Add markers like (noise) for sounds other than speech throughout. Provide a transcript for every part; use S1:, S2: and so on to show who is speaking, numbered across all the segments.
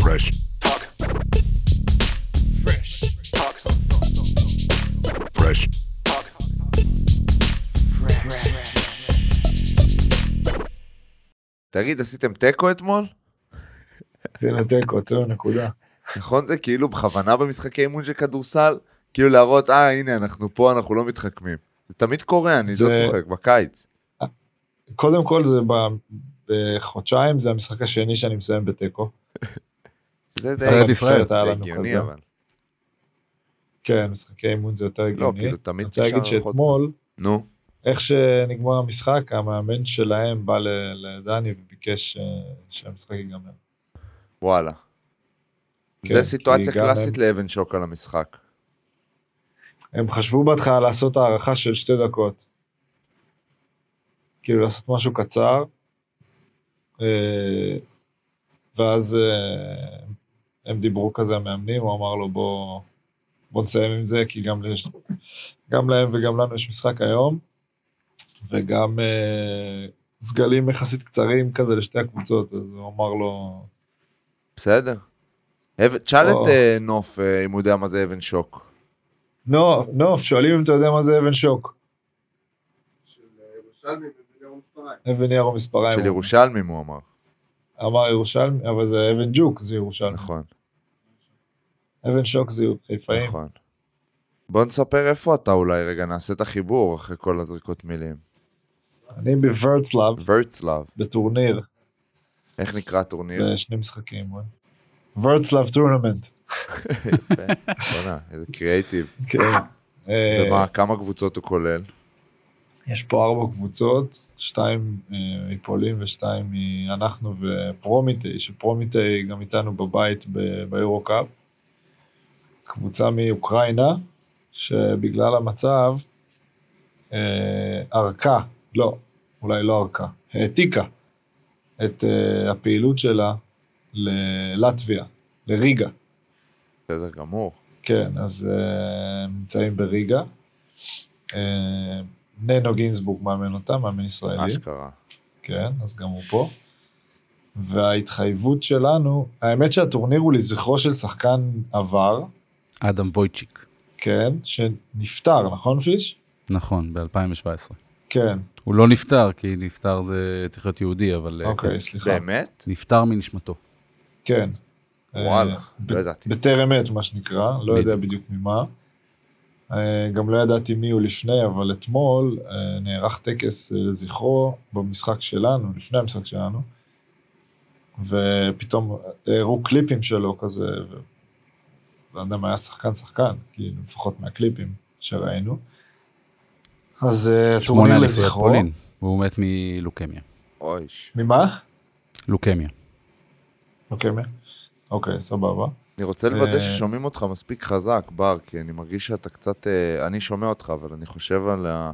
S1: Fresh.
S2: Talk.
S3: Fresh.
S2: Talk.
S1: Fresh.
S2: Talk.
S4: תגיד, עשיתם תיקו אתמול?
S5: עשינו תיקו, הוצאנו נקודה.
S4: נכון זה כאילו בכוונה במשחקי אימון של כדורסל? כאילו להראות, אה, הנה, אנחנו פה, אנחנו לא מתחכמים. זה תמיד קורה, אני
S5: זה-
S4: לא צוחק, בקיץ.
S5: קודם כל זה ב- בחודשיים, זה המשחק השני שאני מסיים בתיקו.
S4: זה די
S5: אחרי
S3: נבחרת
S5: הנבחרת היה
S4: זה
S5: לנו
S4: הגיוני,
S5: כזה.
S4: אבל.
S5: כן, משחקי אימון זה יותר הגיוני.
S4: לא, כאילו, תמיד
S5: אני רוצה להגיד
S4: תשאר רחוק.
S5: שאתמול,
S4: נו,
S5: איך שנגמר המשחק, המאמן שלהם בא ל- לדני וביקש אה, שהמשחק ייגמר.
S4: וואלה.
S5: כן,
S4: זה סיטואציה
S5: כי גם
S4: קלאסית לאבן שוק על המשחק.
S5: הם חשבו בהתחלה לעשות הערכה של שתי דקות. כאילו לעשות משהו קצר, אה, ואז אה, הם דיברו כזה המאמנים, הוא אמר לו בוא, בוא נסיים עם זה, כי גם, יש, גם להם וגם לנו יש משחק היום, וגם אה, סגלים יחסית קצרים כזה לשתי הקבוצות, אז הוא אמר לו,
S4: בסדר. אבן- תשאל
S5: או.
S4: את אה, נוף אה, אם הוא יודע מה זה אבן שוק.
S5: נוף, נוף, שואלים אם אתה יודע מה זה אבן שוק, אבן ירו מספריים.
S4: של
S5: הוא אמר.
S4: ירושלמים הוא אמר,
S5: אמר ירושלמי, אבל זה אבן ג'וק, זה ירושלמי.
S4: נכון,
S5: אבן שוק זה חיפאים.
S4: נכון. בוא נספר איפה אתה אולי רגע, נעשה את החיבור אחרי כל הזריקות מילים.
S5: אני בוורצלב,
S4: וורצלב,
S5: בטורניר,
S4: איך נקרא
S5: (laughs)
S4: הטורניר?
S5: בשני משחקים. אה? וורצלב טורנמנט.
S4: יפה. בוא'נה, איזה קריאייטיב.
S5: כן. אה,
S4: ומה, כמה קבוצות הוא כולל?
S5: יש פה ארבע קבוצות, שתיים אה, מפולין ושתיים מאנחנו ופרומיטי, שפרומיטי גם איתנו בבית ב- ביורו קאפ. קבוצה מאוקראינה, שבגלל המצב, אה, ערכה, לא, אולי לא ערכה, העתיקה את אה, הפעילות שלה ללטביה, לריגה.
S4: בסדר גמור.
S5: כן, אז אה, נמצאים בריגה. אה, ננו גינזבורג מאמן אותם, מאמן ישראלי.
S4: אשכרה.
S5: כן, אז גם הוא פה. וההתחייבות שלנו, האמת שהטורניר הוא לזכרו של שחקן עבר,
S3: אדם וויצ'יק.
S5: כן, שנפטר, נכון פיש?
S3: נכון, ב-2017.
S5: כן,
S3: הוא לא נפטר, כי נפטר זה צריך להיות יהודי, אבל... אה,
S5: אוקיי,
S3: כן.
S5: סליחה.
S4: באמת?
S3: נפטר מנשמתו.
S5: כן.
S4: וואלה,
S5: אה,
S4: לא ידעתי.
S5: בטרם עת, מה שנקרא, לא יודע
S3: בדיוק.
S5: בדיוק ממה. אה, גם לא ידעתי מי הוא לפני, אבל אתמול אה, נערך טקס אה, לזכרו במשחק שלנו, לפני המשחק שלנו, ופתאום אה, הראו קליפים שלו כזה, ו- לא יודע מה היה שחקן שחקן, כאילו לפחות מהקליפים שראינו. אז אה,
S3: שמונה
S5: טורניר
S3: אליפויות
S5: לזכרו.
S3: פולין, והוא מת מלוקמיה.
S4: אוי,
S5: ממה?
S3: לוקמיה.
S5: אוקיי, מ- אוקיי, סבבה.
S4: אני רוצה לוודא
S5: אה.
S4: ששומעים אותך מספיק חזק, בר, כי אני מרגיש שאתה קצת... אה, אני שומע אותך, אבל אני חושב על ה...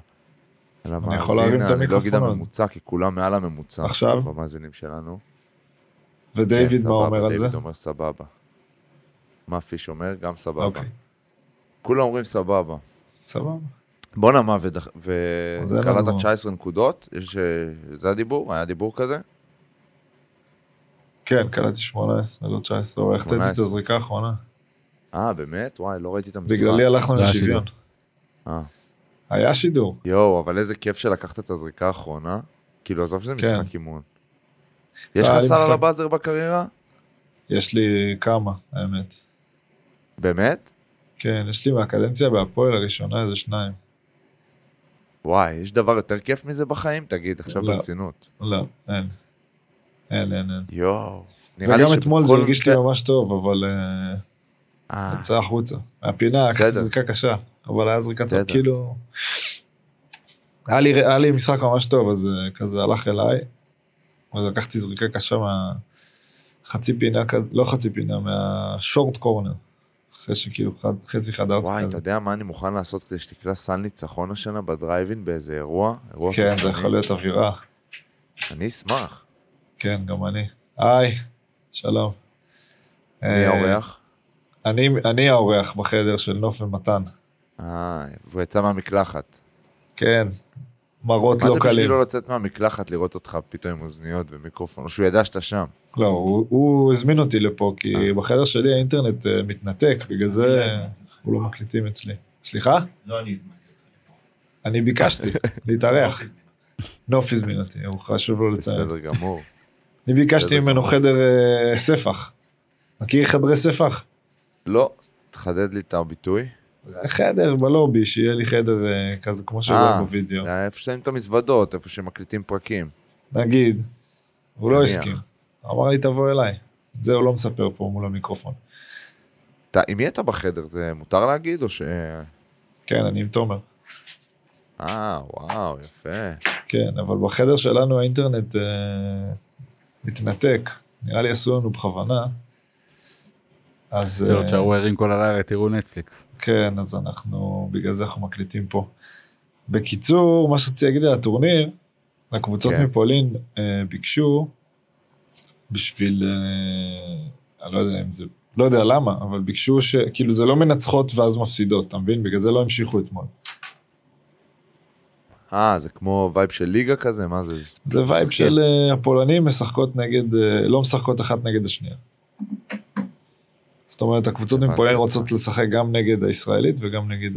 S4: על
S5: יכול
S4: המאזין,
S5: להרים את
S4: אני לא אגיד
S5: המיקרופון.
S4: הממוצע, כי כולם מעל הממוצע.
S5: עכשיו?
S4: במאזינים שלנו. כן,
S5: ודייוויד מה
S4: סבבה,
S5: אומר על זה?
S4: דיוויד אומר סבבה. מה פיש אומר? גם סבבה.
S5: אוקיי,
S4: כולם אומרים סבבה.
S5: סבבה.
S4: בואנה מה, וד-
S5: אז אין
S4: וקלעת
S5: לנו-
S4: 19 נקודות? יש, אה, זה הדיבור? היה דיבור כזה?
S5: כן, קלטתי 18, לא 19, אבל החטאתי את
S4: 18.
S5: הזריקה האחרונה.
S4: אה, באמת? וואי, לא ראיתי את המשחק.
S5: בגללי הלכנו
S3: לא היה
S5: לשוויון.
S4: אה.
S5: היה שידור.
S4: יואו, אבל איזה כיף שלקחת את הזריקה האחרונה. כאילו, עזוב שזה
S5: כן.
S4: משחק אימון. יש
S5: היה
S4: לך
S5: לי
S4: סל על
S5: משחק.
S4: הבאזר בקריירה?
S5: יש לי כמה, האמת.
S4: באמת?
S5: כן, יש לי מהקדנציה בהפועל הראשונה איזה שניים.
S4: וואי, יש דבר יותר כיף מזה בחיים? תגיד, עכשיו
S5: לא.
S4: ברצינות.
S5: לא, אין. אין, אין, אין.
S4: יואו. נראה לי
S5: וגם אתמול זה
S4: שבכל
S5: הרגיש לי
S4: מקרה-
S5: ממש טוב, אבל אה,
S4: אה,
S5: יצא החוצה. מהפינה,
S4: בסדר.
S5: לקחתי זריקה קשה, אבל היה זריקה טוב,
S4: בסדר.
S5: כאילו... היה לי- היה לי משחק ממש טוב, אז אה, כזה הלך אליי, אז לקחתי זריקה קשה מה... חצי פינה כזה, לא חצי פינה, מהשורט קורנר. אחרי שכאילו חד- חצי חדרתי.
S4: וואי, אתה
S5: כזה.
S4: יודע מה אני מוכן לעשות כדי שתקלע סל ניצחון השנה בדרייבין באיזה אירוע? אירוע
S5: כן, זה
S4: חיצוני?
S5: יכול להיות אווירה.
S4: אני אשמח.
S5: כן, גם אני. היי, שלום.
S4: מי
S5: אה,
S4: האורח?
S5: אני, אני האורח בחדר של נוף ומתן.
S4: אה, והוא יצא מהמקלחת.
S5: כן, מראות
S4: מה
S5: לא
S4: זה
S5: קלים.
S4: בשבילו לצאת מהמקלחת לראות אותך פתאום עם אוזניות ומיקרופון, או שהוא ידע שאתה שם?
S5: לא, הוא- הוא הזמין אותי לפה, כי בחדר שלי האינטרנט אה, מתנתק, בגלל זה אה, הוא לא מקליטים אצלי. סליחה?
S1: לא אני הזמנתי אותך.
S5: אני ביקשתי להתארח. נוף הזמין אותי, הוא חשוב לו לציין.
S4: בסדר גמור.
S5: אני ביקשתי
S4: בסדר.
S5: ממנו חדר אה, ספח. מכיר חדרי ספח?
S4: לא, תחדד לי את הביטוי.
S5: חדר בלובי, שיהיה לי חדר אה, כזה כמו שרואים
S4: אה,
S5: בווידאו.
S4: אה, איפה שמים את המזוודות, איפה שמקליטים פרקים.
S5: נגיד, הוא לא
S4: נניח.
S5: הסכים. אמר לי תבוא אליי. את זה הוא לא מספר פה מול המיקרופון.
S4: אתה- עם מי אתה בחדר? זה מותר להגיד או ש...
S5: כן, אני עם תומר.
S4: אה, וואו, יפה.
S5: כן, אבל בחדר שלנו האינטרנט אה, מתנתק. נראה לי עשו לנו בכוונה. אז...
S3: שלא
S5: אה,
S3: תשארו ערים כל הלילה, תראו נטפליקס.
S5: כן, אז אנחנו, בגלל זה אנחנו מקליטים פה. בקיצור, מה שרציתי להגיד על הטורניר, הקבוצות
S4: כן.
S5: מפולין אה, ביקשו בשביל, אה, אני לא יודע אם זה, לא יודע למה, אבל ביקשו ש... כאילו זה לא מנצחות ואז מפסידות, אתה מבין? בגלל זה לא המשיכו אתמול.
S4: אה, זה כמו וייב של ליגה כזה? מה זה? כן.
S5: זה וייב של אה, הפולנים משחקות נגד, אה, לא משחקות אחת נגד השנייה. זאת אומרת, הקבוצות
S4: הבנתי
S5: מפולין
S4: אותך.
S5: רוצות לשחק גם נגד הישראלית וגם נגד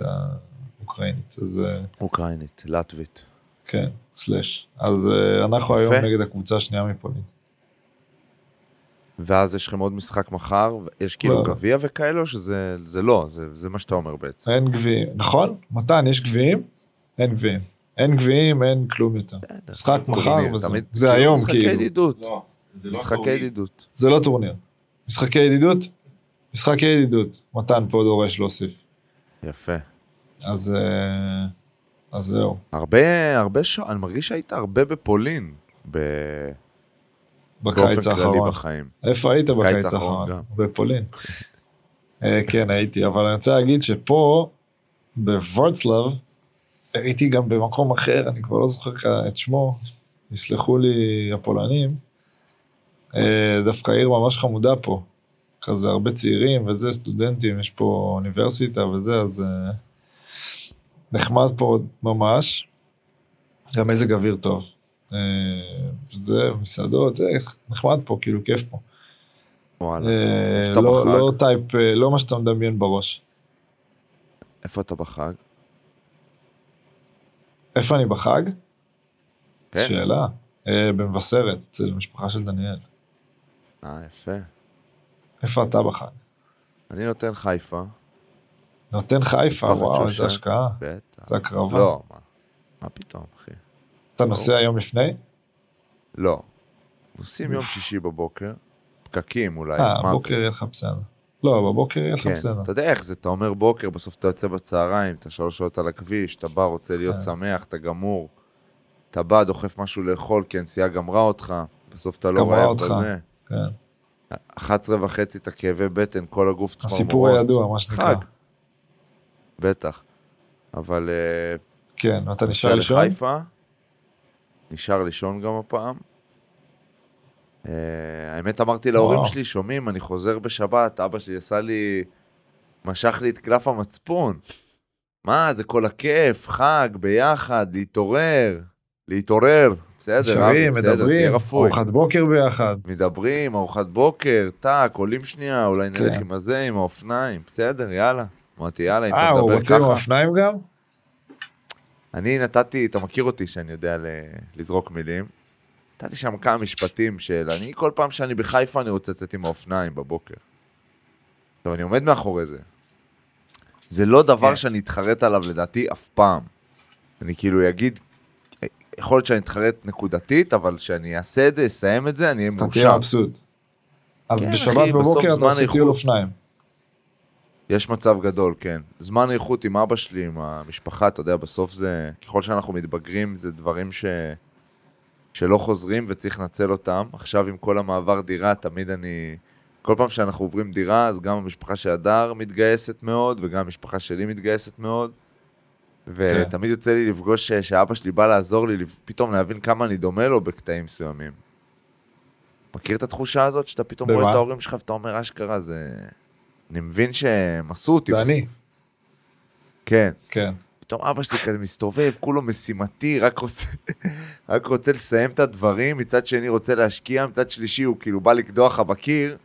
S5: האוקראינית, אז... אה,
S4: אוקראינית, לטבית.
S5: כן, סלאש. אז אה, אנחנו
S4: יפה.
S5: היום נגד הקבוצה השנייה מפולין.
S4: ואז יש לכם עוד משחק מחר, יש כאילו
S5: לא.
S4: גביע וכאלה, או שזה זה לא, זה זה מה שאתה אומר בעצם.
S5: אין גביעים, נכון? מתן, יש גביעים? אין גביעים. אין גביעים, אין כלום יותר. אה, משחק מחר,
S4: טורניר,
S5: וזה-
S4: תמיד-
S5: זה היום
S4: משחקי
S5: כאילו.
S4: ידידות.
S1: לא, זה לא
S4: משחקי
S1: טורניר.
S4: ידידות.
S5: זה לא טורניר. משחקי ידידות? משחקי ידידות. מתן פה דורש להוסיף.
S4: יפה.
S5: אז אה, אז זהו.
S4: הרבה, הרבה שעות, אני מרגיש שהיית הרבה בפולין. ב- באופן
S5: בקיץ
S4: כללי
S5: האחרון.
S4: בחיים.
S5: איפה היית בקיץ
S4: האחרון
S5: האחרון?
S4: גם.
S5: בפולין. אה, כן, הייתי, אבל אני רוצה להגיד שפה, בוורצלב, הייתי גם במקום אחר, אני כבר לא זוכר כ- את שמו, יסלחו לי הפולנים, אה, דווקא עיר ממש חמודה פה. כזה הרבה צעירים וזה, סטודנטים, יש פה אוניברסיטה וזה, אז אה, נחמד פה ממש. גם מזג אוויר טוב. אה, זה, מסעדות, זה נחמד פה, כאילו כיף פה.
S4: וואלה.
S5: אה,
S4: אתה
S5: לא
S4: בחג?
S5: לא טייפ, אה, לא מה שאתה מדמיין בראש.
S4: איפה אתה בחג?
S5: איפה אני בחג?
S4: כן.
S5: שאלה. אה, במבשרת, אצל המשפחה של דניאל.
S4: אה, יפה.
S5: איפה אתה בחג?
S4: אני נותן חיפה,
S5: נותן חיפה,
S4: משפחת
S5: וואו,
S4: שושן.
S5: איזה השקעה.
S4: בטח.
S5: זה אה? הקרבה.
S4: לא, מה? מה פתאום, אחי?
S5: אתה נוסע יום לפני?
S4: לא. נוסעים יום שישי בבוקר, פקקים אולי,
S5: אה,
S4: מוות.
S5: בבוקר יהיה לך בסדר. לא, בבוקר יהיה לך
S4: כן,
S5: בסדר.
S4: אתה יודע איך זה, אתה אומר בוקר, בסוף אתה יוצא בצהריים, אתה שלוש שעות על הכביש, אתה בא, רוצה להיות
S5: כן.
S4: שמח, אתה גמור. אתה בא, דוחף משהו לאכול, כי הנסיעה גמרה אותך, בסוף אתה לא
S5: גמרה
S4: רעב
S5: אותך.
S4: בזה.
S5: כן.
S4: 11 וחצי, אתה כאבי בטן, כל הגוף צמרמורות.
S5: הסיפור הידוע, מה שנקרא.
S4: חג. בטח. אבל אה,
S5: כן, אתה נשאר
S4: נוסע
S5: לישון?
S4: לחיפה, נשאר לישון גם הפעם. אה, האמת אמרתי להורים
S5: וואו.
S4: שלי, שומעים, אני חוזר בשבת, אבא שלי עשה לי, משך לי את קלף המצפון. מה, זה כל הכיף, חג, ביחד, להתעורר, להתעורר, בסדר, אבי,
S5: נשארים,
S4: בסדר, תהיה
S5: מדברים,
S4: רפוי.
S5: ארוחת בוקר ביחד.
S4: מדברים, ארוחת בוקר, טאק, עולים שנייה, אולי נלך
S5: כן.
S4: עם הזה, עם האופניים, בסדר, יאללה. אמרתי, יאללה, אם
S5: אה,
S4: אתה
S5: הוא
S4: מדבר
S5: רוצה עם
S4: ככה.
S5: האופניים גם?
S4: אני נתתי, אתה מכיר אותי שאני יודע ל- לזרוק מילים. נתתי שם כמה משפטים של, אני כל פעם שאני בחיפה אני רוצה לצאת עם האופניים בבוקר. עכשיו, אני עומד מאחורי זה. זה לא דבר
S5: כן.
S4: שאני אתחרט עליו לדעתי אף פעם. אני כאילו אגיד, יכול להיות שאני אתחרט נקודתית, אבל כשאני אעשה את זה, אסיים את זה, אני אהיה
S5: אתה תהיה
S4: מאושר.
S5: מבסוט. אז
S4: כן,
S5: בשבת
S4: אחי, בסוף
S5: בבוקר אתה
S4: זמן
S5: עושה טיול
S4: איכות.
S5: אופניים.
S4: יש מצב גדול, כן. זמן איכות עם אבא שלי, עם המשפחה, אתה יודע, בסוף זה... ככל שאנחנו מתבגרים, זה דברים ש... שלא חוזרים וצריך לנצל אותם. עכשיו, עם כל המעבר דירה, תמיד אני... כל פעם שאנחנו עוברים דירה, אז גם המשפחה של הדר מתגייסת מאוד, וגם המשפחה שלי מתגייסת מאוד. ותמיד יוצא לי לפגוש ש- שאבא שלי בא לעזור לי, לפ- פתאום להבין כמה אני דומה לו בקטעים מסוימים. מכיר את התחושה הזאת שאתה פתאום
S5: במה?
S4: רואה את ההורים שלך ואתה אומר, אשכרה, זה... אני מבין שהם עשו אותי.
S5: זה
S4: בסוף."
S5: אני.
S4: כן,
S5: כן.
S4: פתאום אבא שלי כזה מסתובב, כולו משימתי, רק רוצה, (laughs) רק רוצה לסיים את הדברים, מצד שני רוצה להשקיע, מצד שלישי הוא כאילו בא לקדוח לך בקיר.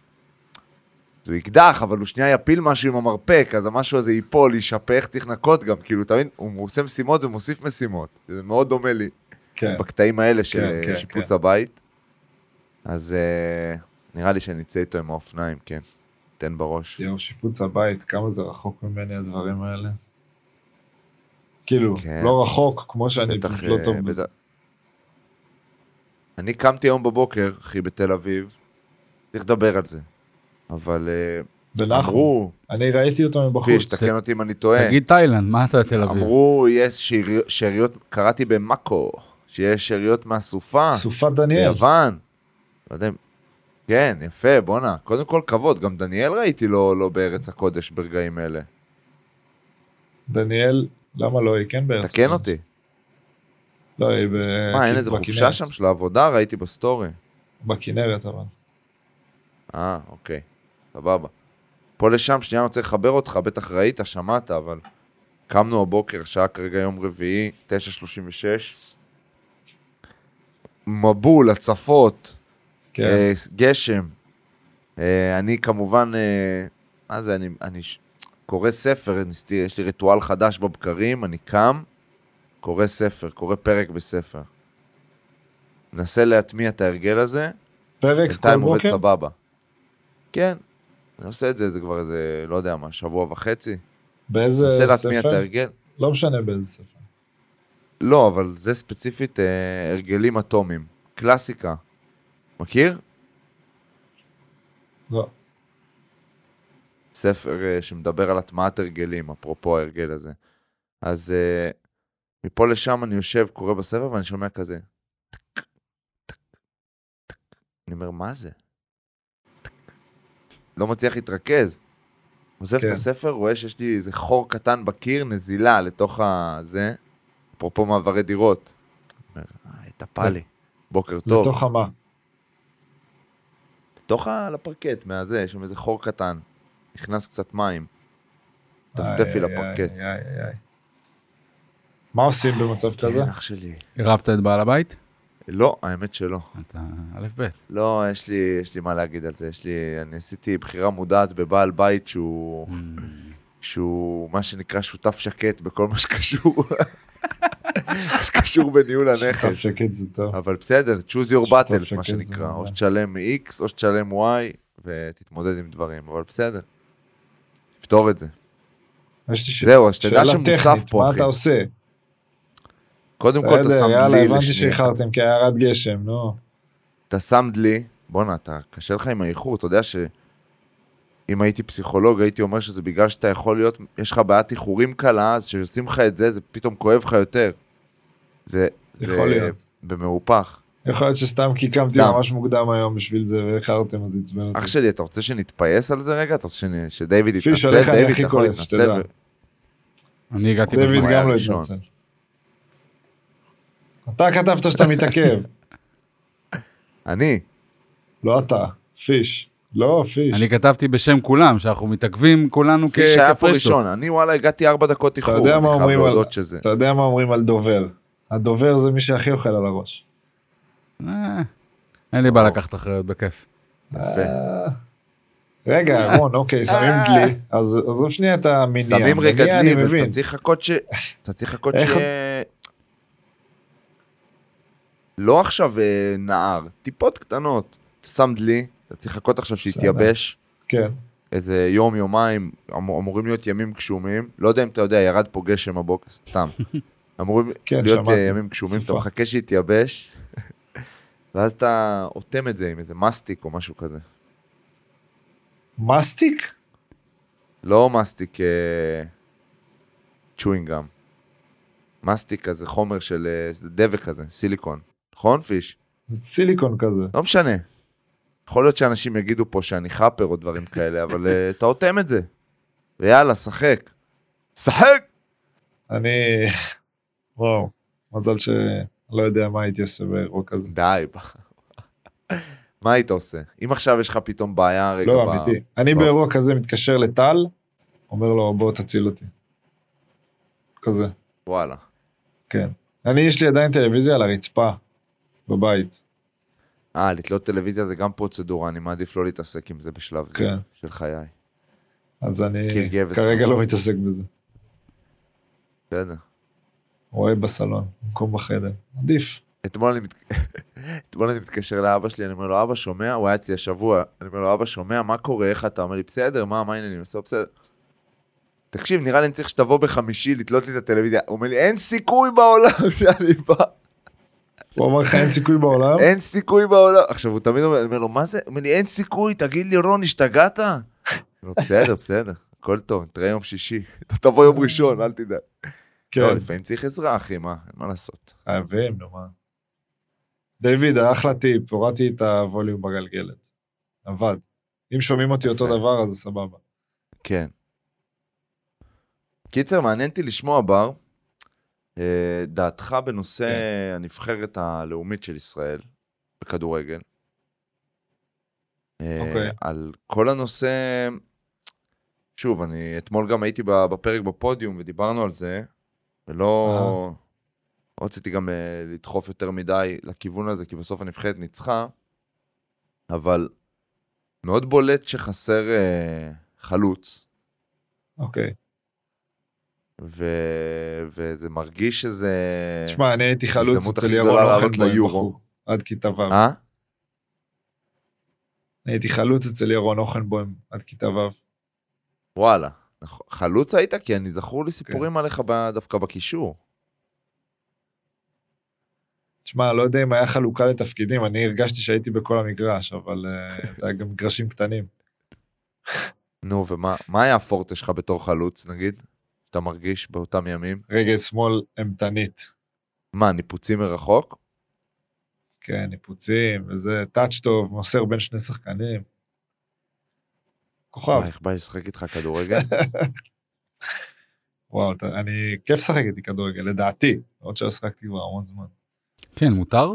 S4: אז הוא יקדח, אבל הוא שנייה יפיל משהו עם המרפק, אז המשהו הזה ייפול, יישפך, צריך לנקות גם, כאילו, אתה מבין, הוא עושה משימות ומוסיף משימות, זה מאוד דומה לי.
S5: כן.
S4: בקטעים האלה של אה,
S5: כן,
S4: שיפוץ הבית. אז אה, נראה לי שנצא איתו עם האופניים, כן. תן בראש.
S5: יום שיפוץ הבית, כמה זה רחוק ממני הדברים האלה. כאילו,
S4: כן.
S5: לא רחוק, כמו שאני
S4: בטח,
S5: פשוט לא
S4: אה,
S5: טוב
S4: בזה-
S5: בזה.
S4: אני קמתי היום בבוקר, אחי, בתל אביב. צריך לדבר על זה. אבל אה,
S5: ונחום,
S4: אמרו,
S5: אני ראיתי אותו
S4: פיש,
S5: מבחוץ.
S4: תקן אותי אם אני טועה.
S3: תגיד תאילנד, מה אתה תל אביב?
S4: אמרו, יש שארי- שאריות, קראתי במאקו, שיש שאריות מהסופה,
S5: סופת דניאל.
S4: ביוון. לא יודע, אם- כן, יפה, בואנה. קודם כל כבוד, גם דניאל ראיתי לא לא בארץ הקודש ברגעים אלה.
S5: כן, דניאל, למה לא היא כן בארץ?
S4: כן. תקן אותי.
S5: לא, היא ב...
S4: מה, אין איזה חופשה
S5: בכנרת.
S4: שם של העבודה? ראיתי בסטורי.
S5: בכנרת אבל.
S4: אה, אוקיי, סבבה. פה לשם, שנייה אני רוצה לחבר אותך, בטח ראית, שמעת, אבל... קמנו הבוקר, שעה כרגע יום רביעי, 9.36. מבול, הצפות,
S5: כן,
S4: אה, גשם. אה, אני כמובן, אה, מה זה, אני, אני ש- קורא ספר, ניסיתי- יש לי ריטואל חדש בבקרים, אני קם, קורא ספר, קורא פרק בספר. מנסה להטמיע את ההרגל הזה,
S5: פרק כל
S4: בינתיים עובד
S5: בוקר?
S4: סבבה. כן, אני עושה את זה, זה כבר איזה, לא יודע מה, שבוע וחצי.
S5: באיזה
S4: מנסה להטמיע את
S5: ספר?
S4: ההרגל.
S5: לא משנה באיזה ספר.
S4: לא, אבל זה ספציפית אה, הרגלים אטומיים, קלאסיקה. מכיר?
S5: לא.
S4: ספר אה, שמדבר על הטמעת הרגלים, אפרופו ההרגל הזה. אז אה, מפה לשם אני יושב, קורא בספר, ואני שומע כזה, טק, טק, טק. אני אומר, מה זה? טק. לא מצליח להתרכז. עוזב את
S5: כן.
S4: הספר, רואה שיש לי איזה חור קטן בקיר, נזילה לתוך ה... זה, אפרופו מעברי דירות. אומר, אה, התאפה לי. בוקר טוב.
S5: לתוך המה.
S4: לתוך ה... לפרקט, מהזה, יש שם איזה חור קטן. נכנס קצת מים.
S5: איי,
S4: טפטפי
S5: איי,
S4: לפרקט.
S5: איי, איי, איי. מה עושים במצב כזה?
S4: כן, אח שלי.
S3: עירבת את בעל הבית?
S4: לא, האמת שלא.
S3: אתה א' ב'.
S4: לא, יש לי, יש לי מה להגיד על זה. יש לי, אני עשיתי בחירה מודעת בבעל בית שהוא, שהוא מה שנקרא שותף שקט בכל מה שקשור, מה שקשור בניהול הנכס.
S5: תפסיק את זה טוב.
S4: אבל בסדר, choose your
S5: שותף
S4: battles, מה
S5: שקט זה
S4: שנקרא. או
S5: מעולה.
S4: שתשלם x או שתשלם y ותתמודד עם דברים, אבל בסדר. תפתור את זה. אה,
S5: יש לי ש-
S4: זהו, אז תדע
S5: שאלה
S4: שמוצף
S5: טכנית,
S4: פה,
S5: מה
S4: אחי.
S5: אתה עושה?
S4: קודם כל, אתה
S5: בסדר,
S4: שם
S5: יאללה,
S4: דלי
S5: הבנתי
S4: לשנייה.
S5: שאיחרתם כי היה ירד גשם, נו.
S4: אתה שם דלי, בואנה, אתה קשה לך עם האיחור, אתה יודע ש... אם הייתי פסיכולוג, הייתי אומר שזה בגלל שאתה יכול להיות, יש לך בעיית איחורים קלה, אז כשעושים לך את זה, זה פתאום כואב לך יותר. זה, זה
S5: יכול להיות.
S4: במהופך.
S5: יכול להיות שסתם כי קמתי
S4: סתם.
S5: ממש מוקדם היום בשביל זה ואיחרתם אז עצבן אותי.
S4: אח שלי, אתה רוצה שנתפייס על זה רגע? אתה רוצה שנ... שדיוויד
S5: פיש,
S4: יתנצל?
S5: עליך אני
S4: דיוויד,
S5: הכי
S4: אתה יכול
S5: כועס,
S4: להתנצל?
S5: שתדע.
S3: אני הגעתי
S4: דוד.
S3: בזמן.
S5: דיוויד
S4: היה
S5: גם לא
S4: ראשון.
S5: התנצל. אתה כתבת שאתה מתעכב, (laughs)
S4: אני,
S5: לא אתה, פיש. לא, פיש.
S3: אני כתבתי בשם כולם, שאנחנו מתעכבים כולנו כ-
S4: כפי שהיה פה
S3: כפרשטות.
S4: ראשון, אני וואלה הגעתי ארבע דקות איחור.
S5: אוקיי, יודע מה
S4: אני
S5: אומרים
S4: חייב
S5: על-
S4: להודות שזה.
S5: אתה יודע מה אומרים על דובר. הדובר זה מי שהכי אוכל על הראש.
S3: אה, אין לי בעיה לקחת אחריות, בכיף.
S5: אה, רגע,
S4: אה.
S5: רון, אוקיי, שמים דלי, אז עזוב שנייה את המניע.
S4: שמים רגע
S5: מניע,
S4: דלי,
S5: אני מבין.
S4: ואתה צריך לחכות
S5: (laughs)
S4: ש... אתה צריך לחכות ש...
S5: איך-
S4: לא עכשיו אה, נער, טיפות קטנות. אתה שם דלי, אתה צריך לחכות עכשיו שיתייבש.
S5: כן,
S4: איזה יום, יומיים, אמור- אמורים להיות ימים גשומים. לא יודע אם אתה יודע, ירד פה גשם הבוקר,
S5: (laughs)
S4: סתם. אמורים
S5: כן,
S4: להיות אה,
S5: שמעתי.
S4: ימים גשומים, אתה
S5: סופה.
S4: מחכה שיתייבש, (laughs) ואז אתה אוטם את זה עם איזה מסטיק או משהו כזה.
S5: מסטיק?
S4: לא מסטיק אה, צ'ואינגאם. מסטיק כזה חומר של אה, זה דבק כזה, סיליקון. נכון פיש?
S5: זה סיליקון כזה.
S4: לא משנה. יכול להיות שאנשים יגידו פה שאני חאפר או דברים
S5: (laughs)
S4: כאלה, אבל אה, אתה אוטם את זה. ויאללה, שחק. שחק!
S5: אני... וואו, מזל שלא יודע מה הייתי עושה באירוע כזה.
S4: די. בח- (laughs) מה היית עושה? אם עכשיו יש לך פתאום בעיה רגע...
S5: לא,
S4: ב-
S5: אמיתי. אני
S4: ב-
S5: באירוע כזה מתקשר לטל, אומר לו, בוא תציל אותי. כזה.
S4: וואלה.
S5: כן. אני, יש לי עדיין טלוויזיה על הרצפה, בבית.
S4: אה, לתלות טלוויזיה זה גם פרוצדורה, אני מעדיף לא להתעסק עם זה בשלב זה
S5: כן.
S4: של חיי.
S5: אז אני
S4: קיל גבס.
S5: כרגע לא מתעסק בזה.
S4: בסדר.
S5: רואה בסלון, במקום בחדר. עדיף.
S4: אתמול אני, מת... (laughs) אתמול אני מתקשר לאבא שלי, אני אומר לו, אבא שומע? הוא היה אצלי השבוע. אני אומר לו, אבא שומע? מה קורה? איך אתה? אומר לי, בסדר, מה, מה העניינים? אני עושה בסדר. תקשיב, נראה לי אני צריך שתבוא בחמישי לתלות לי את הטלוויזיה. הוא אומר לי, אין סיכוי בעולם (laughs) שאני בא.
S5: הוא אמר לך אין סיכוי בעולם?
S4: (laughs) אין סיכוי בעולם. עכשיו, הוא תמיד אומר, אני אומר לו, מה זה? הוא אומר לי, אין סיכוי, תגיד לי, רון, השתגעת? אני אומר, בסדר, בסדר, הכל טוב, נתראה יום שישי. (laughs) אתה תבוא יום ראשון, אל תדאג. לא,
S5: כן.
S4: לפעמים צריך עזרה, אחי, מה? אין מה לעשות.
S5: חייבים, נו מה. דיוויד, אחלה טיפ, הורדתי את הווליום בגלגלת. עבד. אם שומעים אותי אותו
S4: יפה.
S5: דבר, אז סבבה.
S4: כן. קיצר, מעניין אותי לשמוע, בר, אה, דעתך בנושא הנבחרת הלאומית של ישראל בכדורגל. אה,
S5: אוקיי.
S4: על כל הנושא, שוב, אני אתמול גם הייתי ב- בפרק בפודיום ודיברנו על זה, ולא לא רציתי גם אה, לדחוף יותר מדי לכיוון הזה, כי בסוף הנבחרת ניצחה, אבל מאוד בולט שחסר אה, חלוץ.
S5: אוקיי.
S4: ו... וזה מרגיש שזה...
S5: תשמע, אני הייתי חלוץ
S4: אה, ההזדמנות
S5: אצל
S4: הכי
S5: ירון
S4: גדולה
S5: אוחן
S4: לעלות ליורו.
S5: בחור. עד כיתה ו'.
S4: אה?
S5: אני הייתי חלוץ אצל ירון אוחנבוים עד כיתה ו'.
S4: וואלה. נכון. חלוץ היית? כי אני זכור לי סיפורים
S5: כן.
S4: עליך ב... דווקא בקישור.
S5: תשמע, לא יודע אם היה חלוקה לתפקידים, אני הרגשתי שהייתי בכל המגרש, אבל אה, זה היה גם מגרשים קטנים.
S4: נו, ומה מה היה הפורטה שלך בתור חלוץ, נגיד? שאתה מרגיש באותם ימים?
S5: רגל שמאל אימתנית.
S4: מה, ניפוצים מרחוק?
S5: כן, ניפוצים, וזה טאץ' טוב, מוסר בין שני שחקנים. כוכב.
S4: וואי, איך בא לי לשחק איתך
S5: (laughs)
S4: כדורגל?
S5: וואו, אתה- אני כיף לשחק איתי כדורגל, לדעתי, עוד שלא שחקתי כבר המון זמן.
S3: כן, מותר?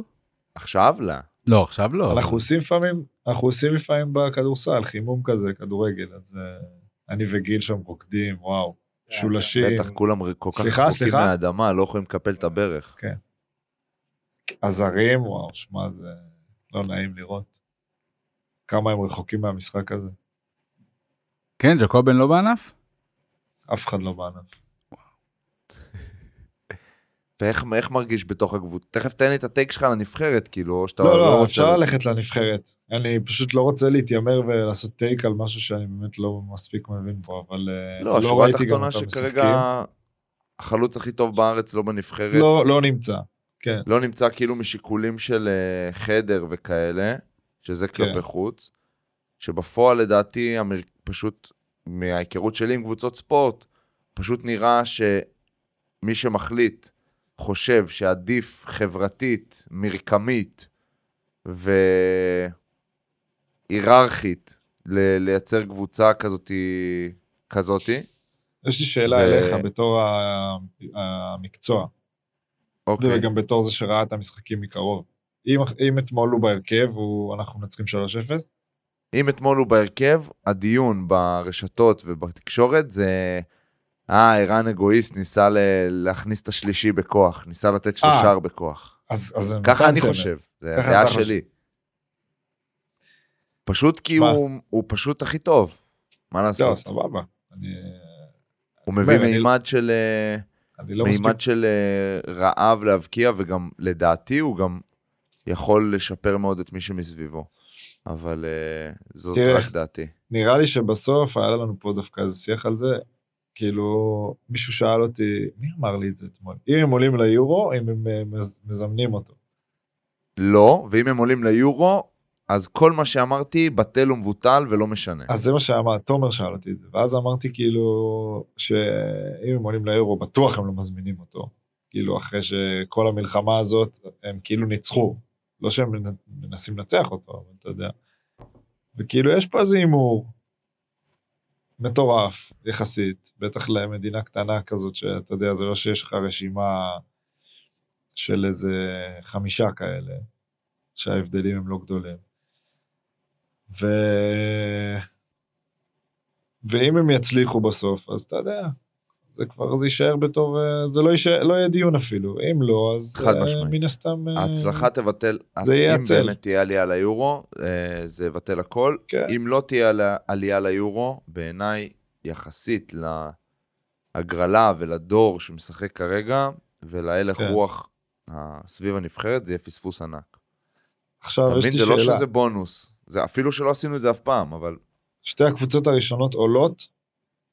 S4: עכשיו? לא.
S3: לא, עכשיו לא.
S5: אנחנו עושים לפעמים, אנחנו עושים לפעמים בכדורסל, חימום כזה, כדורגל, אז אה, אני וגיל שם רוקדים, וואו,
S4: כן,
S5: שולשים.
S4: בטח כולם ר- כל כך
S5: סליחה,
S4: רחוקים
S5: סליחה. כן.
S4: מהאדמה, לא יכולים לקפל את הברך.
S5: הזרים, וואו, שמע, זה לא נעים לראות. כמה הם רחוקים מהמשחק הזה,
S3: כן, ג'קובן לא בענף?
S5: אף אחד לא בענף.
S4: ואיך איך מרגיש בתוך הקבוצה? תכף תן לי את הטייק שלך לנבחרת, כאילו, או שאתה
S5: לא, לא,
S4: רוצה-
S5: אפשר ללכת לנבחרת. אני פשוט לא רוצה להתיימר ולעשות טייק על משהו שאני באמת לא מספיק מבין בו, אבל אה,
S4: לא,
S5: לא
S4: השורה
S5: ראיתי גם
S4: התחתונה
S5: אותם משחקים.
S4: שכרגע החלוץ הכי טוב בארץ לא בנבחרת.
S5: לא, לא נמצא, כן.
S4: לא נמצא כאילו משיקולים של אה, חדר וכאלה, שזה כלפי
S5: כן.
S4: חוץ, שבפועל לדעתי המר... פשוט מההיכרות שלי עם קבוצות ספורט, פשוט נראה שמי שמחליט חושב שעדיף חברתית, מרקמית והיררכית ל... לייצר קבוצה כזאתי, כזאתי.
S5: יש לי שאלה
S4: ו-
S5: אליך בתור ה- המקצוע,
S4: אוקיי.
S5: וגם בתור זה שראה את המשחקים מקרוב. אם, אם אתמול הוא בהרכב, הוא, אנחנו מנצחים 3-0,
S4: אם אתמול הוא בהרכב, הדיון ברשתות ובתקשורת זה... אה, ערן אגואיסט ניסה ל- להכניס את השלישי בכוח, ניסה לתת
S5: אה.
S4: שלושר בכוח.
S5: אז, אז הם
S4: ככה
S5: נתן
S4: אני
S5: צמד.
S4: חושב, זה
S5: ככה
S4: הדעה
S5: אתה חושב.
S4: שלי. פשוט כי
S5: מה?
S4: הוא, הוא פשוט הכי טוב, מה
S5: לא,
S4: לעשות?
S5: סבבה. אני,
S4: הוא מביא
S5: אני-
S4: מימד של... אה,
S5: אני לא מספיק...
S4: מימד של אה, רעב להבקיע, וגם לדעתי הוא גם יכול לשפר מאוד את מי שמסביבו. אבל אה, זאת
S5: תראה.
S4: רק דעתי.
S5: נראה לי שבסוף היה לנו פה דווקא איזה שיח על זה. כאילו, מישהו שאל אותי, מי אמר לי את זה אתמול? אם הם עולים ליורו, אם הם אה, מז- מזמנים אותו.
S4: לא, ואם הם עולים ליורו, אז כל מה שאמרתי בטל ומבוטל ולא משנה.
S5: אז זה מה שאמר, תומר שאל אותי את זה, ואז אמרתי כאילו, שאם הם עולים ליורו בטוח הם לא מזמינים אותו, כאילו אחרי שכל המלחמה הזאת הם כאילו ניצחו, לא שהם מנ- מנסים לנצח אותו, אבל אתה יודע. וכאילו יש פה איזה הימור מטורף יחסית, בטח למדינה קטנה כזאת שאתה יודע, זה לא שיש לך רשימה של איזה חמישה כאלה, שההבדלים הם לא גדולים. ו... ואם הם יצליחו בסוף, אז אתה יודע, זה כבר, זה יישאר בתור, אה, זה לא, יישאר, לא יהיה דיון אפילו. אם לא, אז
S4: חד
S5: אה,
S4: משמעית.
S5: מן הסתם... אה,
S4: ההצלחה תבטל,
S5: זה יהיה
S4: אם
S5: הצל.
S4: באמת תהיה עלייה ליורו, אה, זה יבטל הכל.
S5: כן.
S4: אם לא תהיה עלי- עלייה ליורו, בעיניי, יחסית להגרלה ולדור שמשחק כרגע, ולהלך
S5: כן.
S4: רוח אה, סביב הנבחרת, זה יהיה פספוס ענק.
S5: עכשיו
S4: אתה
S5: יש לי
S4: מבין? זה
S5: שאלה.
S4: לא שזה בונוס. זה אפילו שלא עשינו את זה אף פעם, אבל...
S5: שתי הקבוצות הראשונות עולות,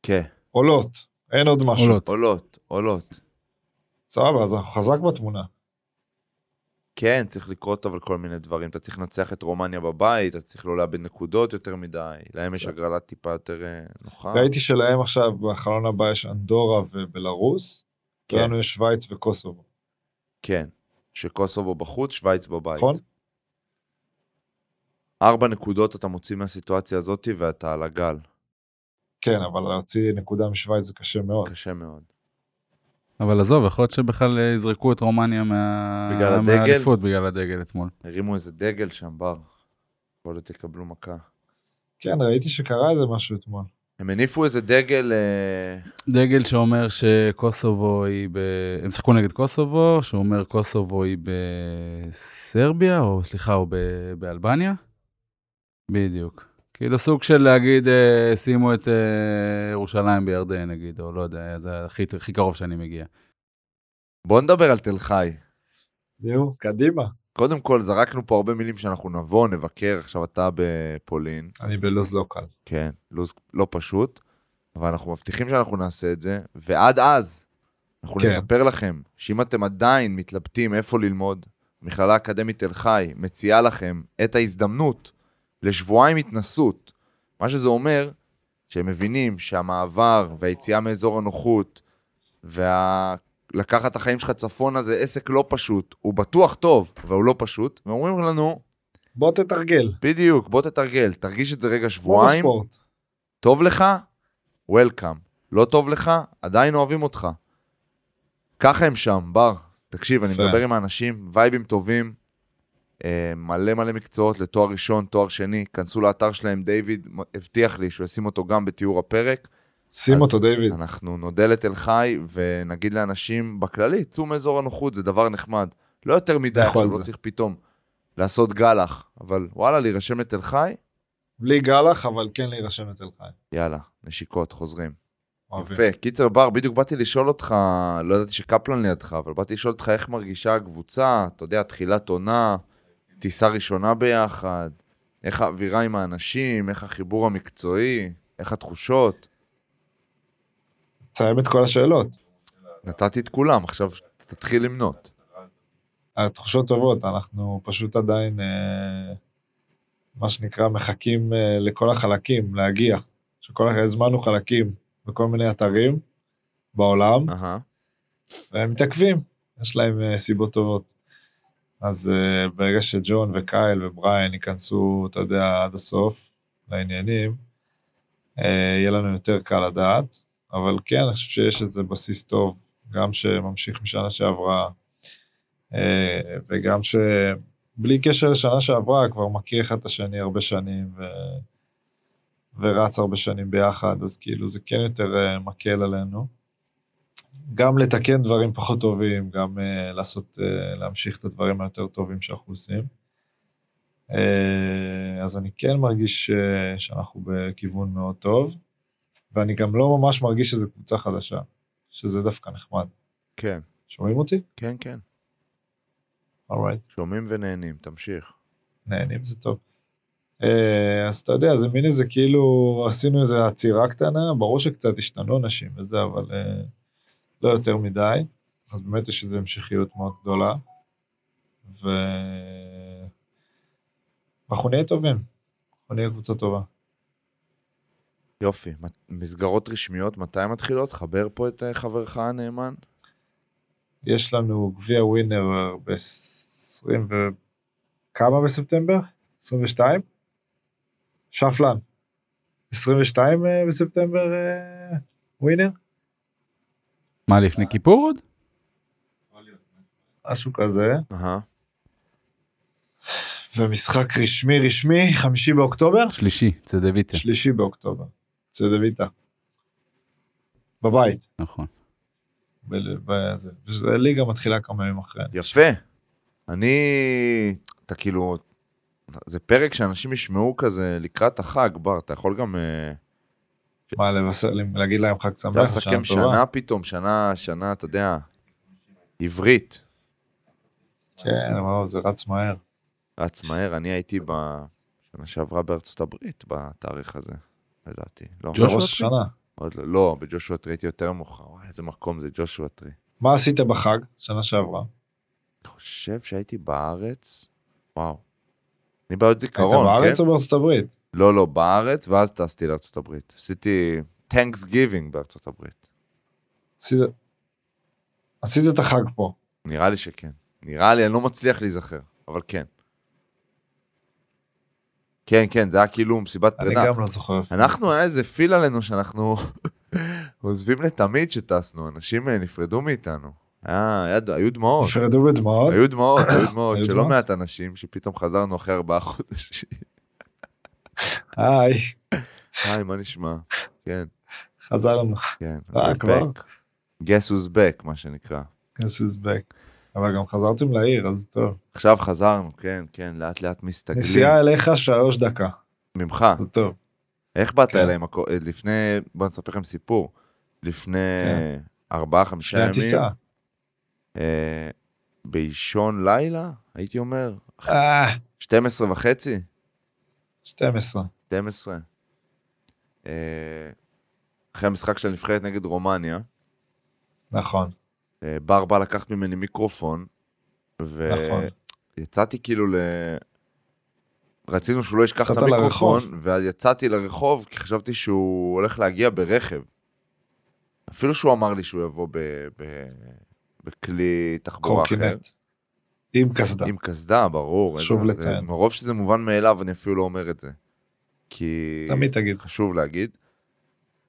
S4: כן.
S5: עולות, אין עוד משהו.
S3: עולות.
S4: עולות, עולות.
S5: סבבה, אז אנחנו חזק בתמונה.
S4: כן, צריך לקרות אבל כל מיני דברים. אתה צריך לנצח את רומניה בבית, אתה צריך לא לאבד נקודות יותר מדי. להם יש הגרלה טיפה יותר אה, נוחה.
S5: ראיתי שלהם עכשיו, בחלון הבא יש אנדורה ובלארוס,
S4: כן.
S5: ולנו יש שווייץ וקוסובו,
S4: כן, שקוסובו בחוץ, שווייץ בבית.
S5: נכון?
S4: ארבע נקודות אתה מוציא מהסיטואציה הזאת ואתה על הגל.
S5: כן, אבל להוציא נקודה משוויץ זה קשה מאוד.
S4: קשה מאוד.
S3: אבל עזוב, יכול להיות שבכלל אה, יזרקו את רומניה מה-
S4: בגלל הדגל?
S3: מהאליפות בגלל הדגל אתמול.
S4: הרימו איזה דגל שם, בר. כל עוד תקבלו מכה.
S5: כן, ראיתי שקרה איזה משהו אתמול.
S4: הם הניפו איזה דגל, אה,
S3: דגל שאומר שקוסובו היא ב... הם שיחקו נגד קוסובו, שאומר קוסובו היא בסרביה, או סליחה, או ב... באלבניה? בדיוק. כאילו סוג של להגיד, אה, שימו את אה, ירושלים בירדן נגיד, או לא יודע, זה הכי, הכי קרוב שאני מגיע.
S4: בואו נדבר על תל חי.
S5: נו, קדימה.
S4: קודם כל, זרקנו פה הרבה מילים שאנחנו נבוא, נבקר, עכשיו אתה בפולין.
S5: אני בלוז לא קל.
S4: כן, לו"ז לא פשוט, אבל אנחנו מבטיחים שאנחנו נעשה את זה, ועד אז אנחנו
S5: כן.
S4: כן. נספר לכם שאם אתם עדיין מתלבטים איפה ללמוד, המכללה האקדמית תל חי מציעה לכם את ההזדמנות לשבועיים התנסות. מה שזה אומר, שהם מבינים שהמעבר והיציאה מאזור הנוחות ולקחת את החיים שלך צפונה זה עסק לא פשוט, הוא בטוח טוב, אבל הוא לא פשוט, והם אומרים לנו,
S5: בוא תתרגל.
S4: בדיוק, בוא תתרגל, תרגיש את זה רגע
S5: כמו
S4: שבועיים,
S5: בספורט.
S4: טוב לך, וולקאם. לא טוב לך, עדיין אוהבים אותך. ככה הם שם, בר. תקשיב, אני
S5: יפה.
S4: מדבר עם האנשים, וייבים טובים, אה, מלא מלא מקצועות לתואר ראשון, תואר שני. כנסו לאתר שלהם, דיוויד הבטיח לי שהוא ישים אותו גם בתיאור הפרק.
S5: שים
S4: אז-
S5: אותו, דיוויד.
S4: אנחנו נודה לתל חי ונגיד לאנשים בכללי, צאו מאזור הנוחות, זה דבר נחמד. לא יותר מדי,
S5: לכו
S4: עכשיו
S5: על
S4: לא
S5: נכון, זה.
S4: צריך פתאום לעשות גלח, אבל וואלה, להירשם לתל חי,
S5: בלי גלח, אבל כן להירשם לתל חי.
S4: יאללה, נשיקות, חוזרים.
S5: אוהבים.
S4: יפה. קיצר בר, בדיוק באתי לשאול אותך, לא ידעתי שקפלן לידך, אבל באתי לשאול אותך איך מרגישה הקבוצה, אתה יודע, תחילת עונה, טיסה ראשונה ביחד, איך האווירה עם האנשים, איך החיבור המקצועי, איך התחושות.
S5: תסיים את כל השאלות.
S4: נתתי את כולם, עכשיו תתחיל למנות.
S5: התחושות טובות, אנחנו פשוט עדיין, אה, מה שנקרא, מחכים אה, לכל החלקים להגיע. שכל הח- הזמנו חלקים בכל מיני אתרים בעולם,
S4: אהה.
S5: והם מתעכבים, יש להם אה, סיבות טובות. אז אה, ברגע שג'ון וקייל ובריין ייכנסו, אתה יודע, עד הסוף לעניינים, אה, יהיה לנו יותר קל לדעת, אבל כן, אני חושב שיש איזה בסיס טוב, גם שממשיך משנה שעברה, אה, וגם שבלי קשר לשנה שעברה, כבר מכיר אחד את השני הרבה שנים, ו... ורץ הרבה שנים ביחד, אז כאילו זה כן יותר אה, מקל עלינו. גם לתקן דברים פחות טובים, גם uh, לעשות, uh, להמשיך את הדברים היותר טובים שאנחנו עושים. Uh, אז אני כן מרגיש uh, שאנחנו בכיוון מאוד טוב, ואני גם לא ממש מרגיש שזו קבוצה חדשה, שזה דווקא נחמד.
S4: כן,
S5: שומעים אותי?
S4: כן, כן.
S5: אורייט.
S4: שומעים ונהנים, תמשיך.
S5: נהנים זה טוב. Uh, אז אתה יודע, זה מין איזה כאילו, עשינו איזה עצירה קטנה, ברור שקצת השתנו אנשים וזה, אבל uh, לא יותר מדי. אז באמת יש איזו המשכיות מאוד גדולה. ו... אנחנו נהיה טובים, אנחנו נהיה קבוצה טובה.
S4: יופי, מת- מסגרות רשמיות, מתי מתחילות? חבר פה את אה, חברך הנאמן.
S5: יש לנו גביע ווינר ב-20 ו... כמה בספטמבר? 22? שפלן. 22 אה, בספטמבר אה, ווינר?
S3: מה, לפני
S4: אה.
S3: כיפור עוד?
S5: משהו כזה.
S4: אהה.
S5: ומשחק רשמי רשמי, חמישי
S4: כן.
S5: באוקטובר?
S3: שלישי, צדוויטה.
S5: שלישי באוקטובר. צדוויטה. בבית.
S3: נכון.
S5: ב- בזה. וזה- הליגה מתחילה כמה ימים אחרי.
S4: יפה. אני, אתה כאילו, זה פרק שאנשים ישמעו כזה לקראת החג, בר, אתה יכול גם אה,
S5: מה, לבשר, להגיד להם חג
S4: אתה
S5: שמח,
S4: לסכם שנה פתאום, שנה, שנה, אתה יודע, עברית.
S5: כן, אבל זה רץ מהר.
S4: רץ מהר, אני הייתי בשנה שעברה בארצות הברית בתאריך הזה, לדעתי. לא,
S3: ג'ושוע
S5: ראש
S3: טרי?
S5: השנה.
S4: עוד לא, לא, בג'ושוע טרי הייתי יותר מאוחר, וואי, איזה מקום זה ג'ושוע טרי.
S5: מה עשית בחג, שנה שעברה?
S4: אני חושב שהייתי בארץ, וואו. אני בעיות
S5: היית
S4: זיכרון, כן?
S5: בארץ או בארצות הברית?
S4: לא, לא, בארץ, ואז טסתי לארצות הברית. עשיתי טנקס גיבינג בארצות הברית.
S5: עשית- עשית את החג פה.
S4: נראה לי שכן. נראה לי, אני לא מצליח להיזכר, אבל כן. כן, כן, זה היה כאילו מסיבת
S5: אני
S4: פרידה.
S5: גם לא זוכר. איפה.
S4: אנחנו, היה איזה פיל עלינו שאנחנו (laughs) עוזבים לתמיד שטסנו, אנשים אה, נפרדו מאיתנו. היה, היה, היו דמעות,
S5: נפרדו בדמעות?
S4: היו דמעות, היו
S5: (coughs)
S4: דמעות,
S5: היו
S4: שלא
S5: דמעות?
S4: מעט אנשים שפתאום חזרנו אחרי ארבעה חודשים. (laughs)
S5: היי,
S4: היי, מה נשמע? כן,
S5: חזרנו.
S4: כן.
S5: אה,
S4: we're
S5: כבר?
S4: back. Guess who's back, מה שנקרא.
S5: Guess who's back. אבל גם חזרתם לעיר, אז טוב.
S4: עכשיו חזרנו, כן, כן, לאט לאט מסתגלים.
S5: נסיעה אליך שלוש דקה,
S4: ממך,
S5: זה טוב.
S4: איך באת
S5: כן.
S4: אליי עם הכו... לפני, בוא נספר לכם סיפור. לפני
S5: כן.
S4: ארבעה, חמישה
S5: שנייה
S4: ימים,
S5: טיסה.
S4: אה, באישון לילה, הייתי אומר,
S5: אה,
S4: 12 וחצי,
S5: 12.
S4: 12. אה, אחרי המשחק של הנבחרת נגד רומניה,
S5: נכון,
S4: אה, בר בא לקחת ממני מיקרופון,
S5: נכון.
S4: ויצאתי כאילו ל... רצינו שהוא לא ישכח את
S5: יצאת
S4: המיקרופון,
S5: לרחוב.
S4: ואז יצאתי לרחוב כי חשבתי שהוא הולך להגיע ברכב. אפילו שהוא אמר לי שהוא יבוא ב... ב... בכלי תחבורה אחר.
S5: קורקינט. עם קסדה.
S4: עם קסדה, ברור.
S5: חשוב
S4: איזה-
S5: לציין.
S4: זה- מרוב שזה מובן מאליו, אני אפילו לא אומר את זה. כי...
S5: תמיד תגיד.
S4: חשוב להגיד.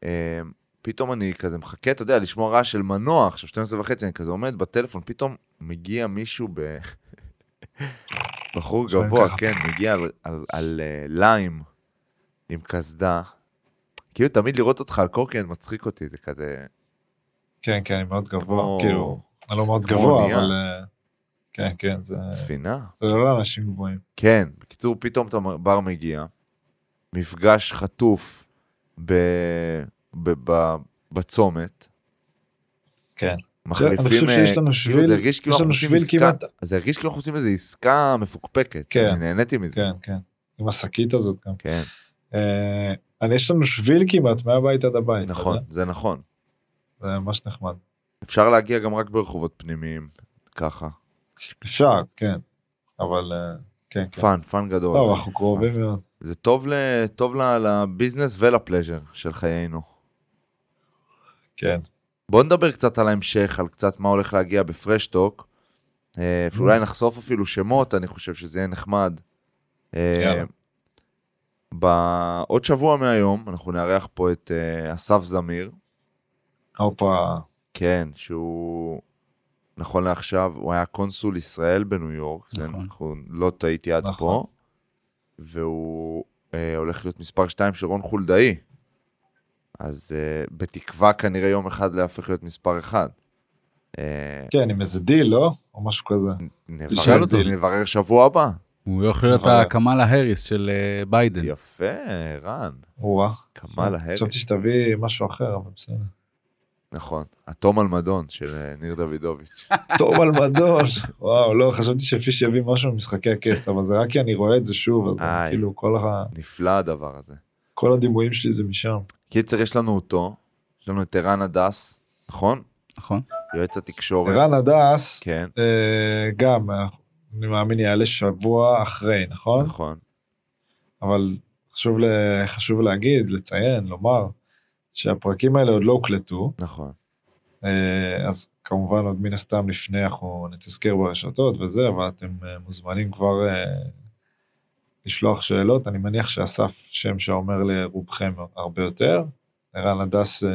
S4: אה, פתאום אני כזה מחכה, אתה יודע, לשמוע רעש של מנוע, עכשיו 12 וחצי, אני כזה עומד בטלפון, פתאום מגיע מישהו ב... (laughs) בחור
S5: שומעים
S4: גבוה,
S5: ככה.
S4: כן, מגיע על, על, על אה, ליים עם קסדה. כאילו תמיד לראות אותך על קורקינט מצחיק אותי, זה כזה...
S5: כן, כן, אני מאוד גבוה.
S4: כמו
S5: כאילו, אני לא מאוד
S4: כמו
S5: גבוה,
S4: אונייה.
S5: אבל... אה, כן, כן, זה
S4: ספינה.
S5: זה לא לאנשים גבוהים.
S4: כן, בקיצור, פתאום אתה אומר, בר מגיע, מפגש חטוף ב... ב... ב... בצומת.
S5: כן. אני
S4: מחליפים...
S5: חושב שיש
S4: אה,
S5: לנו
S4: כאילו זה
S5: שביל,
S4: הרגיש כאילו
S5: יש
S4: אנחנו
S5: לנו
S4: עושים
S5: שביל
S4: עסקה,
S5: כמעט...
S4: זה הרגיש כאילו אנחנו עושים איזו עסקה מפוקפקת,
S5: כן.
S4: אני נהניתי מזה,
S5: כן, כן. עם השקית הזאת גם.
S4: כן,
S5: אה, אבל יש לנו שביל כמעט מהבית עד הבית. אתה
S4: נכון,
S5: יודע?
S4: זה נכון.
S5: זה ממש נחמד.
S4: אפשר להגיע גם רק ברחובות פנימיים, ככה,
S5: אפשר, כן. אבל אה, כן, כן.
S4: פאן, פאן גדול.
S5: לא,
S4: זה
S5: אבל אנחנו
S4: פאן.
S5: קרובים מאוד.
S4: זה טוב ל- טוב ל- לביזנס ולפלז'ר של חיינו.
S5: כן.
S4: בוא נדבר קצת על ההמשך, על קצת מה הולך להגיע בפרשטוק. אה, ואולי נחשוף אפילו שמות, אני חושב שזה יהיה נחמד. אה,
S5: יאללה.
S4: בעוד שבוע מהיום אנחנו נארח פה את אה, אסף זמיר,
S5: הופה.
S4: כן, שהוא נכון לעכשיו, הוא היה קונסול ישראל בניו יורק, זה
S3: נכון.
S4: אנחנו לא טעיתי עד
S5: נכון.
S4: פה, והוא אה, הולך להיות מספר 2 של רון חולדאי, אז אה, בתקווה כנראה יום אחד להפך להיות מספר 1. אה,
S5: כן, עם איזה דיל, לא? או משהו
S4: כן.
S5: כזה.
S3: תשאל אותו.
S4: נברר, נברר שבוע הבא.
S3: הוא יכול להיות
S4: נכון.
S5: אבל-
S3: הקמאלה האריס של אה, ביידן.
S4: יפה, רן,
S5: או-אה.
S4: כמאל ההרס.
S5: חשבתי שתביא משהו אחר, אבל בסדר.
S4: נכון, התום אלמדון של אה, ניר
S3: (laughs)
S4: דוידוביץ'.
S5: טוב על
S4: (laughs)
S5: מדון. וואו, לא, חשבתי שפיש יביא משהו ממשחקי הכס, אבל זה רק כי אני רואה את זה שוב, אז
S4: איי.
S5: כאילו כל ה-
S4: נפלא הדבר הזה.
S5: כל הדימויים שלי זה משם.
S4: קיצר, יש לנו אותו, יש לנו את ערן הדס, נכון?
S3: נכון?
S4: יועץ התקשורת.
S5: ערן הדס,
S4: אוקיי. כן,
S5: אה, גם, אנחנו- אני מאמין, יעלה שבוע אחרי, נכון?
S4: נכון.
S5: אבל חשוב ל- חשוב להגיד, לציין, לומר, שהפרקים האלה עוד לא הוקלטו,
S4: נכון.
S5: אה, אז כמובן עוד מן הסתם לפני אנחנו נתזכר ברשתות וזה, אבל אתם אה, מוזמנים כבר אה, לשלוח שאלות. אני מניח שאסף שם שאומר לרובכם הרבה יותר. ערן הדס, אה,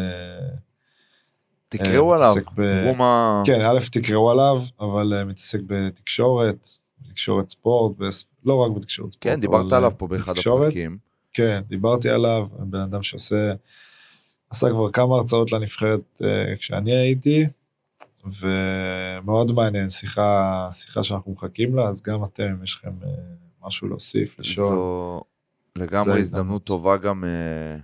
S4: תקראו
S5: אה,
S4: עליו,
S5: מתעסק ב-
S4: תראו מה...
S5: כן, א', תקראו עליו, אבל אה, מתעסק בתקשורת, בתקשורת ספורט, בס- לא רק בתקשורת ספורט.
S4: כן, דיברת
S5: אבל,
S4: עליו
S5: אה,
S4: פה באחד
S5: בתקשורת.
S4: הפרקים.
S5: כן, דיברתי עליו, בן אדם שעושה עשה כבר כמה הרצאות לנבחרת אה, כשאני הייתי, ומאוד מעניין, שיחה, שיחה שאנחנו מחכים לה, אז גם אתם, אם יש לכם אה, משהו להוסיף, לשאול.
S4: זו
S5: זו
S4: לגמרי הזדמנות
S5: ההזדמנות.
S4: טובה גם אה,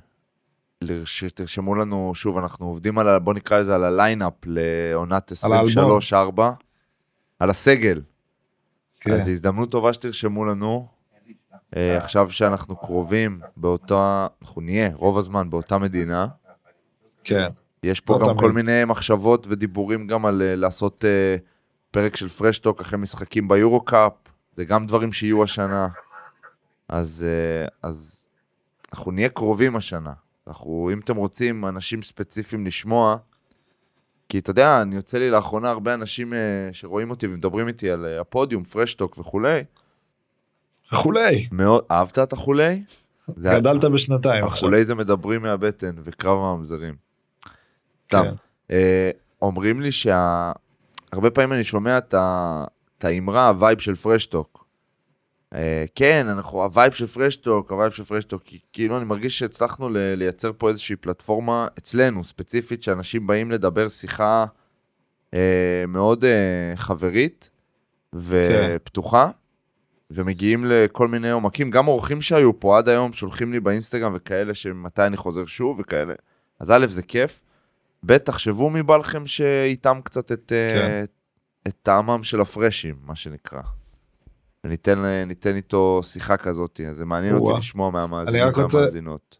S4: לרש- שתרשמו לנו, שוב, אנחנו עובדים על, ה- בוא נקרא לזה, על הליינאפ לעונת
S5: על האלבום.
S4: 23-4, על הסגל.
S5: כן.
S4: אז זו הזדמנות טובה שתרשמו לנו. אה, עכשיו שאנחנו קרובים באותה, אנחנו נהיה רוב הזמן באותה מדינה.
S5: כן,
S4: יש פה
S5: לא
S4: גם
S5: תמיד.
S4: כל מיני מחשבות ודיבורים גם על אה, לעשות אה, פרק של פרשטוק אחרי משחקים ביורו קאפ, זה גם דברים שיהיו השנה. אז, אה, אז אנחנו נהיה קרובים השנה. אנחנו, אם אתם רוצים אנשים ספציפיים לשמוע, כי אתה יודע, אני יוצא לי לאחרונה הרבה אנשים אה, שרואים אותי ומדברים איתי על אה, הפודיום, פרשטוק וכולי.
S5: וכולי,
S4: מאוד, אהבת את החולי? זה-
S5: גדלת בשנתיים עכשיו.
S4: החולי זה מדברים מהבטן וקרב הממזרים. סתם.
S5: כן.
S4: אה, אומרים לי שה... הרבה פעמים אני שומע את ה- את האמרה, הווייב של פרשטוק. אה, כן, אנחנו, הווייב של פרשטוק, הווייב של פרשטוק, כי כאילו אני מרגיש שהצלחנו ל- לייצר פה איזושהי פלטפורמה אצלנו, ספציפית, שאנשים באים לדבר שיחה אה, מאוד אה, חברית
S5: כן.
S4: ופתוחה, ומגיעים לכל מיני עומקים, גם אורחים שהיו פה עד היום שולחים לי באינסטגרם וכאלה שמתי אני חוזר שוב וכאלה. אז א', זה כיף, ב', תחשבו מי בא לכם שאיתם קצת את, כן.
S5: כן.
S4: את טעמם של הפרשים, מה שנקרא. וניתן ניתן איתו שיחה כזאת, אז זה מעניין
S5: או-אה.
S4: אותי לשמוע מהמאזינים
S5: אני רק רוצה-
S4: והמאזינות.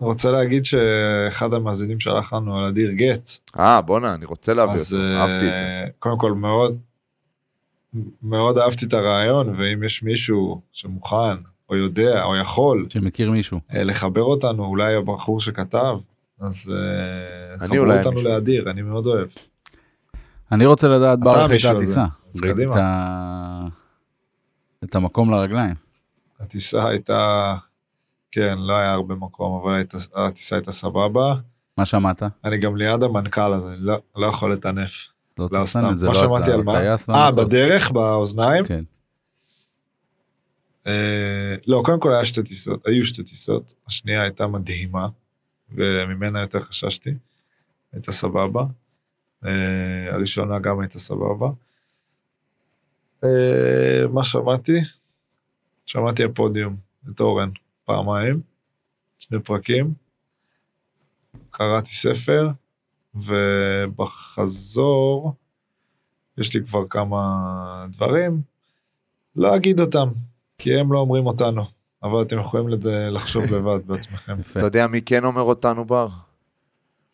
S5: אני רוצה להגיד שאחד המאזינים שלח לנו על אדיר גץ,
S4: אה, בואנה, אני רוצה להביא
S5: אז
S4: אותו,
S5: אה,
S4: אהבתי את זה.
S5: קודם כל מאוד, מאוד אהבתי את הרעיון, ואם יש מישהו שמוכן, או יודע, או יכול,
S3: שמכיר מישהו.
S5: אה, לחבר אותנו, אולי הבחור שכתב, אז אה,
S4: אני
S5: חברו
S4: אולי
S5: אותנו
S4: מישהו.
S5: לאדיר, אני מאוד אוהב.
S3: אני רוצה לדעת
S5: אתה
S3: ברח את
S5: המישהו הזה.
S3: הטיסה.
S5: אז
S3: ראיתי
S5: קדימה.
S3: את ה- את המקום לרגליים.
S5: הטיסה הייתה, כן, לא היה הרבה מקום, אבל הייתה, הטיסה הייתה סבבה.
S3: מה שמעת?
S5: אני גם ליד המנכ"ל, אז אני לא, לא יכול לטנף.
S3: לא
S5: לא,
S3: צריך
S5: סתם.
S3: לסנן את זה,
S5: מה
S3: לא
S5: שמעתי
S3: הצעה,
S5: על מה?
S3: טייס
S5: אה,
S3: והמטוס.
S5: בדרך, באוזניים?
S3: כן.
S5: אה, לא, קודם כל היה שתי טיסות, היו שתי טיסות, השנייה הייתה מדהימה, וממנה יותר חששתי, הייתה סבבה. אה, הראשונה גם הייתה סבבה. אה, מה שמעתי? שמעתי הפודיום, את אורן, פעמיים, שני פרקים, קראתי ספר, ובחזור יש לי כבר כמה דברים, לא אגיד אותם, כי הם לא אומרים אותנו, אבל אתם יכולים לד... לחשוב לבד בעצמכם.
S3: יפה.
S4: אתה יודע מי כן אומר אותנו בר?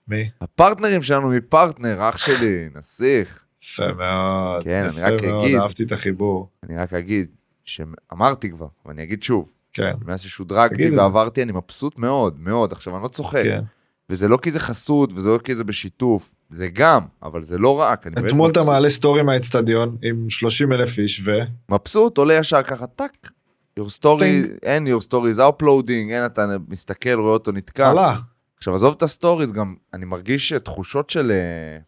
S5: מי?
S4: הפרטנרים שלנו מפרטנר, אח
S5: (laughs)
S4: שלי, נסיך.
S5: יפה מאוד.
S4: כן, אני
S5: יפה
S4: רק
S5: מאוד,
S4: אגיד.
S5: אהבתי את החיבור.
S4: אני רק אגיד, שאמרתי כבר, ואני אגיד שוב,
S5: כן,
S4: מאז
S5: תגיד את
S4: ששודרגתי
S5: זה.
S4: ועברתי, אני מבסוט מאוד, מאוד. עכשיו, אני לא צוחק.
S5: כן.
S4: וזה לא כי זה חסות, וזה לא כי זה בשיתוף, זה גם, אבל זה לא רק. אני באמת
S5: אתמול אתה
S4: מבסוט.
S5: מעלה סטורי מהאצטדיון עם 30 אלף איש ו...
S4: מבסוט, עולה ישר ככה, טאק. your story,
S5: טינג.
S4: אין your story is uploading, אין אתה מסתכל, רואה אותו נתקע.
S5: עלה.
S4: עכשיו עזוב את הסטוריז, גם אני מרגיש תחושות של... אה,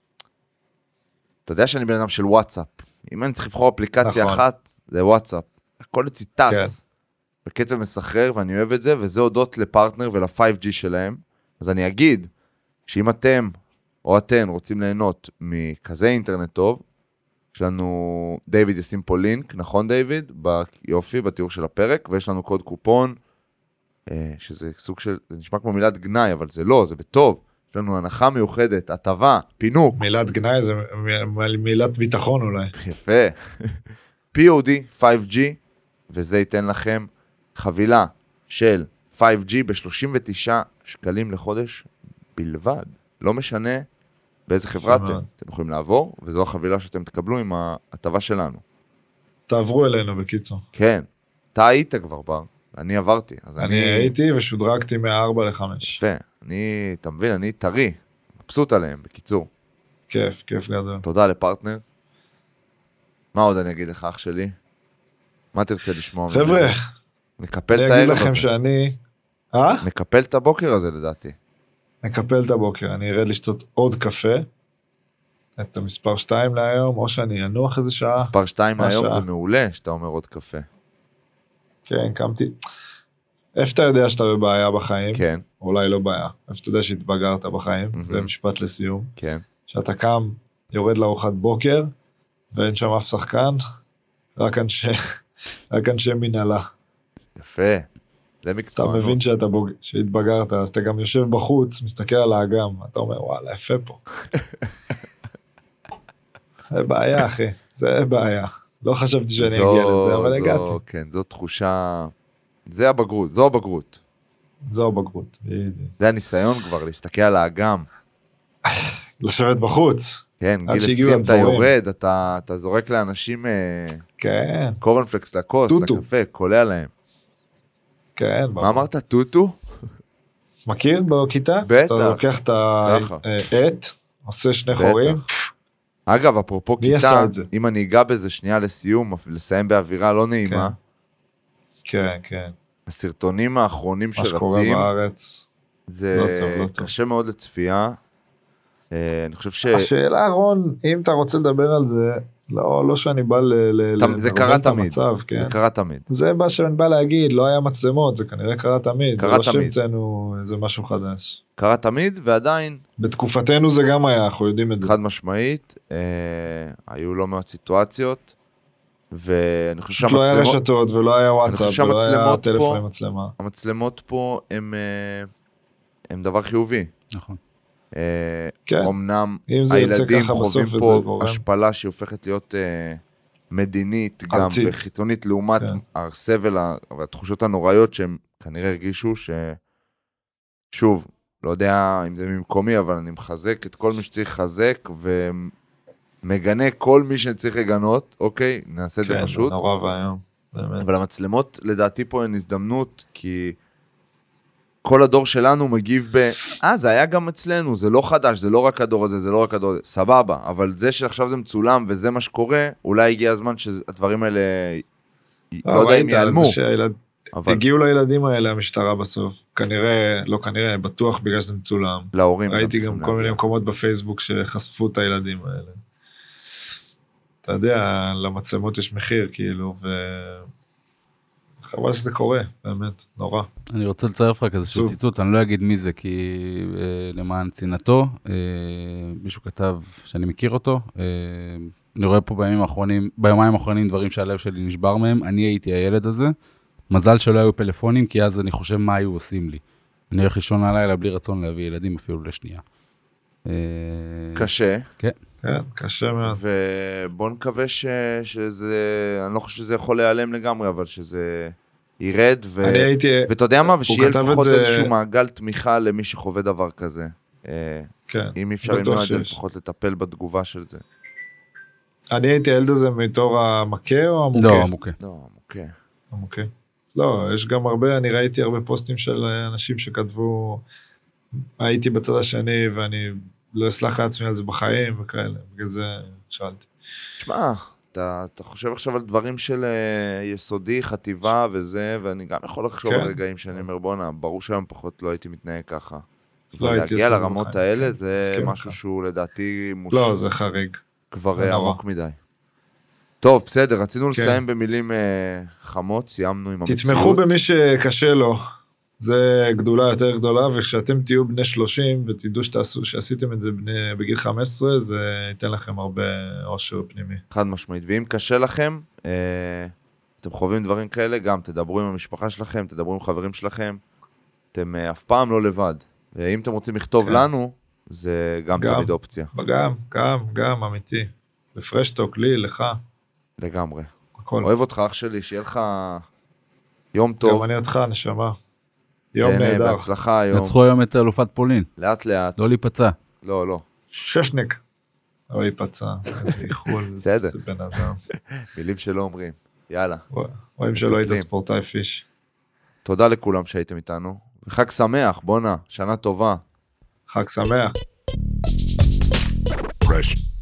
S4: אתה יודע שאני בן אדם של וואטסאפ. אם אני צריך לבחור אפליקציה
S5: נכון.
S4: אחת, זה וואטסאפ. הכל אצלי טס.
S5: כן.
S4: בקצב מסחרר, ואני אוהב את זה, וזה הודות לפרטנר ול-5G שלהם. אז אני אגיד שאם אתם או אתן רוצים ליהנות מכזה אינטרנט טוב, יש לנו, דיוויד ישים פה לינק, נכון דיוויד? ב- יופי, בתיאור של הפרק, ויש לנו קוד קופון, אה, שזה סוג של, זה נשמע כמו מילת גנאי, אבל זה לא, זה בטוב. יש לנו הנחה מיוחדת, הטבה, פינוק,
S5: מילת גנאי זה מ- מ- מילת ביטחון אולי.
S4: יפה. POD 5G, וזה ייתן לכם חבילה של 5G ב-39 שקלים לחודש בלבד. לא משנה באיזה חברה אתם,
S5: מאוד.
S4: אתם יכולים לעבור, וזו החבילה שאתם תקבלו עם ההטבה שלנו.
S5: תעברו אלינו בקיצור.
S4: כן, אתה היית כבר בר, אני עברתי, אז אני...
S5: אני הייתי ושודרגתי מ-4 ל-5.
S4: יפה, אני, אתה מבין, אני טרי, מבסוט עליהם, בקיצור.
S5: כיף, כיף גדול.
S4: תודה לפרטנר. מה עוד אני אגיד לך, אח שלי? מה תרצה לשמוע? ממני?
S5: חבר'ה,
S4: נקפל את
S5: אני אגיד
S4: הערב
S5: לכם
S4: הזה.
S5: שאני... אה?
S4: נקפל את הבוקר הזה לדעתי.
S5: נקפל את הבוקר, אני ארד לשתות עוד קפה, את המספר 2 להיום, או שאני אנוח איזה שעה.
S4: מספר 2
S5: מה
S4: היום
S5: השעה?
S4: זה מעולה שאתה אומר עוד קפה.
S5: כן, קמתי. איפה אתה יודע שאתה בבעיה בחיים?
S4: כן,
S5: אולי לא בעיה. איפה אתה יודע שהתבגרת בחיים?
S4: Mhm.
S5: זה משפט לסיום.
S4: כן.
S5: שאתה קם, יורד לארוחת בוקר, ואין שם אף שחקן, רק אנשי, (laughs) רק אנשי מנהלה.
S4: יפה. זה
S5: אתה
S4: מקצוענות.
S5: מבין שאתה בוג... שהתבגרת, אז אתה גם יושב בחוץ, מסתכל על האגם, אתה אומר, וואלה, יפה
S4: (laughs)
S5: פה. זה בעיה, אחי, זה בעיה. לא חשבתי שאני
S4: זו-
S5: אגיע לזה, אבל
S4: זו-
S5: הגעתי.
S4: כן, זו תחושה... זה הבגרות, זו הבגרות.
S5: זו הבגרות, בדיוק.
S4: זה הניסיון כבר, להסתכל על האגם.
S5: לשבת בחוץ,
S4: כן,
S5: עד
S4: גיל
S5: שהגיעו
S4: 20 אתה
S5: הדבורים.
S4: יורד, אתה אתה זורק לאנשים אה,
S5: כן,
S4: קורנפלקס לכוס,
S5: טוטו.
S4: לקפה, קולע להם.
S5: כן.
S4: מה
S5: ברור.
S4: אמרת? טוטו?
S5: מכיר בכיתה?
S4: בטח.
S5: אתה לוקח את
S4: ככה.
S5: העט, עושה שני
S4: בטח.
S5: חורים,
S4: אגב, אפרופו
S5: מי עשה
S4: כיתה,
S5: את זה?
S4: אם אני אגע בזה שנייה לסיום, לסיים באווירה לא נעימה,
S5: כן, כן,
S4: הסרטונים האחרונים
S5: מה שקורה
S4: שרצים,
S5: בארץ.
S4: זה
S5: לא טוב, לא טוב.
S4: קשה מאוד לצפייה. אה, אני חושב ש...
S5: השאלה, רון, אם אתה רוצה לדבר על זה, לא, לא שאני בא ל... ל-
S4: תמ- זה
S5: לנרמל
S4: קרה
S5: את
S4: תמיד.
S5: המצב,
S4: זה
S5: כן.
S4: קרה תמיד.
S5: זה מה שאני בא להגיד, לא היה מצלמות, זה כנראה קרה תמיד.
S4: קרה
S5: זה לא
S4: תמיד.
S5: שהמצאנו איזה משהו חדש.
S4: קרה תמיד, ועדיין,
S5: בתקופתנו זה גם היה, אנחנו יודעים את זה.
S4: חד משמעית, אה, היו לא מעט סיטואציות, ואני חושב
S5: לא היה
S4: שהמצלמות
S5: רשתות ולא היה
S4: חושב
S5: וואטסאפ ולא היה
S4: שהמצלמות
S5: טלפון
S4: פה-
S5: עם מצלמה.
S4: המצלמות פה הם, אה, הם דבר חיובי.
S3: נכון.
S4: אה,
S5: כן,
S4: אמנם
S5: אם זה יוצא
S4: הילדים
S5: ככה
S4: חווים
S5: בסוף וזה
S4: פה
S5: גורם.
S4: השפלה שהיא הופכת להיות אה, מדינית גם
S5: ארצית.
S4: וחיצונית לעומת
S5: כן.
S4: הסבל ה- והתחושות הנוראיות שהם כנראה הרגישו ש... שוב, לא יודע אם זה ממקומי, אבל אני מחזק את כל מי שצריך לחזק ומגנה כל מי שצריך לגנות, אוקיי? נעשה את זה
S5: כן, זה
S4: פשוט.
S5: נורא ואיום. באמת.
S4: אבל המצלמות לדעתי פה הן הזדמנות, כי כל הדור שלנו מגיב ב... אה, זה היה גם אצלנו, זה לא חדש, זה לא רק הדור הזה, זה לא רק הדור הזה, סבבה, אבל זה שעכשיו זה מצולם וזה מה שקורה, אולי הגיע הזמן שהדברים האלה, לא יודע אם
S5: ראית,
S4: ייעלמו,
S5: זה שהילד-
S4: אבל
S5: הגיעו לילדים האלה המשטרה בסוף, כנראה, לא כנראה, בטוח בגלל שזה מצולם.
S4: להורים... לא
S5: ראיתי
S4: צריכים
S5: גם כל מיני
S4: להגיע.
S5: מקומות בפייסבוק שחשפו את הילדים האלה. אתה יודע, למצלמות יש מחיר, כאילו, ו... חבל שזה קורה, באמת, נורא.
S3: אני רוצה לצרף רק איזשהו
S5: עצוב.
S3: ציטוט, אני לא אגיד מי זה, כי אה, למען צנעתו, אה, מישהו כתב שאני מכיר אותו. אה, אני רואה פה בימים האחרונים, ביומיים האחרונים דברים שהלב שלי נשבר מהם, אני הייתי הילד הזה. מזל שלא היו פלאפונים, כי אז אני חושב מה היו עושים לי. אני הולך לישון הלילה בלי רצון להביא ילדים אפילו לשנייה. אה,
S4: קשה,
S5: כן, קשה מאוד.
S4: ובוא נקווה ש... שזה, אני לא חושב שזה יכול להיעלם לגמרי, אבל שזה ירד, ו...
S5: אני הייתי,
S4: ואתה יודע מה, ושיהיה
S5: כתב את
S4: לפחות
S5: זה-
S4: איזשהו מעגל תמיכה למי שחווה דבר כזה. אה,
S5: כן,
S4: אם אי אפשר
S5: בטוח
S4: למנוע את זה,
S5: שיש.
S4: לפחות לטפל בתגובה של זה.
S5: אני הייתי הילד הזה מתור המכה או המוכה?
S3: לא, מוכה.
S4: לא, אוקיי.
S5: המוכה. לא, יש גם הרבה, אני ראיתי הרבה פוסטים של אה, אנשים שכתבו, הייתי בצד השני ואני לא אסלח לעצמי על זה בחיים וכאלה, בגלל זה שאלתי.
S4: תשמע, אתה, אתה חושב עכשיו על דברים של אה, יסודי, חטיבה וזה, ואני גם יכול לחשוב
S5: כן.
S4: על רגעים שאני אומר, בואנה, ברור שהיום פחות לא הייתי מתנהג ככה.
S5: לא הייתי
S4: להגיע
S5: עושה את זה
S4: לרמות
S5: בחיים,
S4: האלה
S5: כן,
S4: זה
S5: מסכים
S4: משהו
S5: איתך.
S4: שהוא לדעתי מוש...
S5: לא, זה חריג.
S4: כבר
S5: זה
S4: אה,
S5: נורא.
S4: עמוק מדי. טוב, בסדר, רצינו
S5: כן.
S4: לסיים במילים אה, חמות, סיימנו עם המציאות.
S5: תתמכו במי שקשה לו. זה גדולה יותר גדולה, וכשאתם תהיו בני 30 ותדעו שתעשו, שעשיתם את זה בני, בגיל 15, זה ייתן לכם הרבה אושר פנימי.
S4: חד משמעית. ואם קשה לכם, אה, אתם חווים דברים כאלה, גם תדברו עם המשפחה שלכם, תדברו עם חברים שלכם, אתם אה, אף פעם לא לבד. ואם אתם רוצים לכתוב
S5: כן.
S4: לנו, זה גם
S5: גם.
S4: תמיד אופציה,
S5: גם, גם, גם, אמיתי. לפרשטוק, לי, לך,
S4: לגמרי.
S5: הכל.
S4: אוהב אותך, אח שלי, שיהיה לך יום
S5: גם
S4: טוב.
S5: אני אותך, נשמה. יום
S4: תהנה,
S5: נהדר.
S4: בהצלחה היום,
S3: נצחו היום את אלופת פולין,
S4: לאט לאט.
S3: לא להיפצע.
S4: לא, לא,
S5: ששניק. אוי, פצע, איזה איחול,
S4: בסדר.
S5: איזה בן אדם.
S4: מילים שלא אומרים. יאללה.
S5: רואים שלא היית
S4: מתקנים.
S5: ספורטאי פיש.
S4: תודה לכולם שהייתם איתנו. וחג שמח, בואנה, שנה טובה.
S5: חג שמח.
S2: Fresh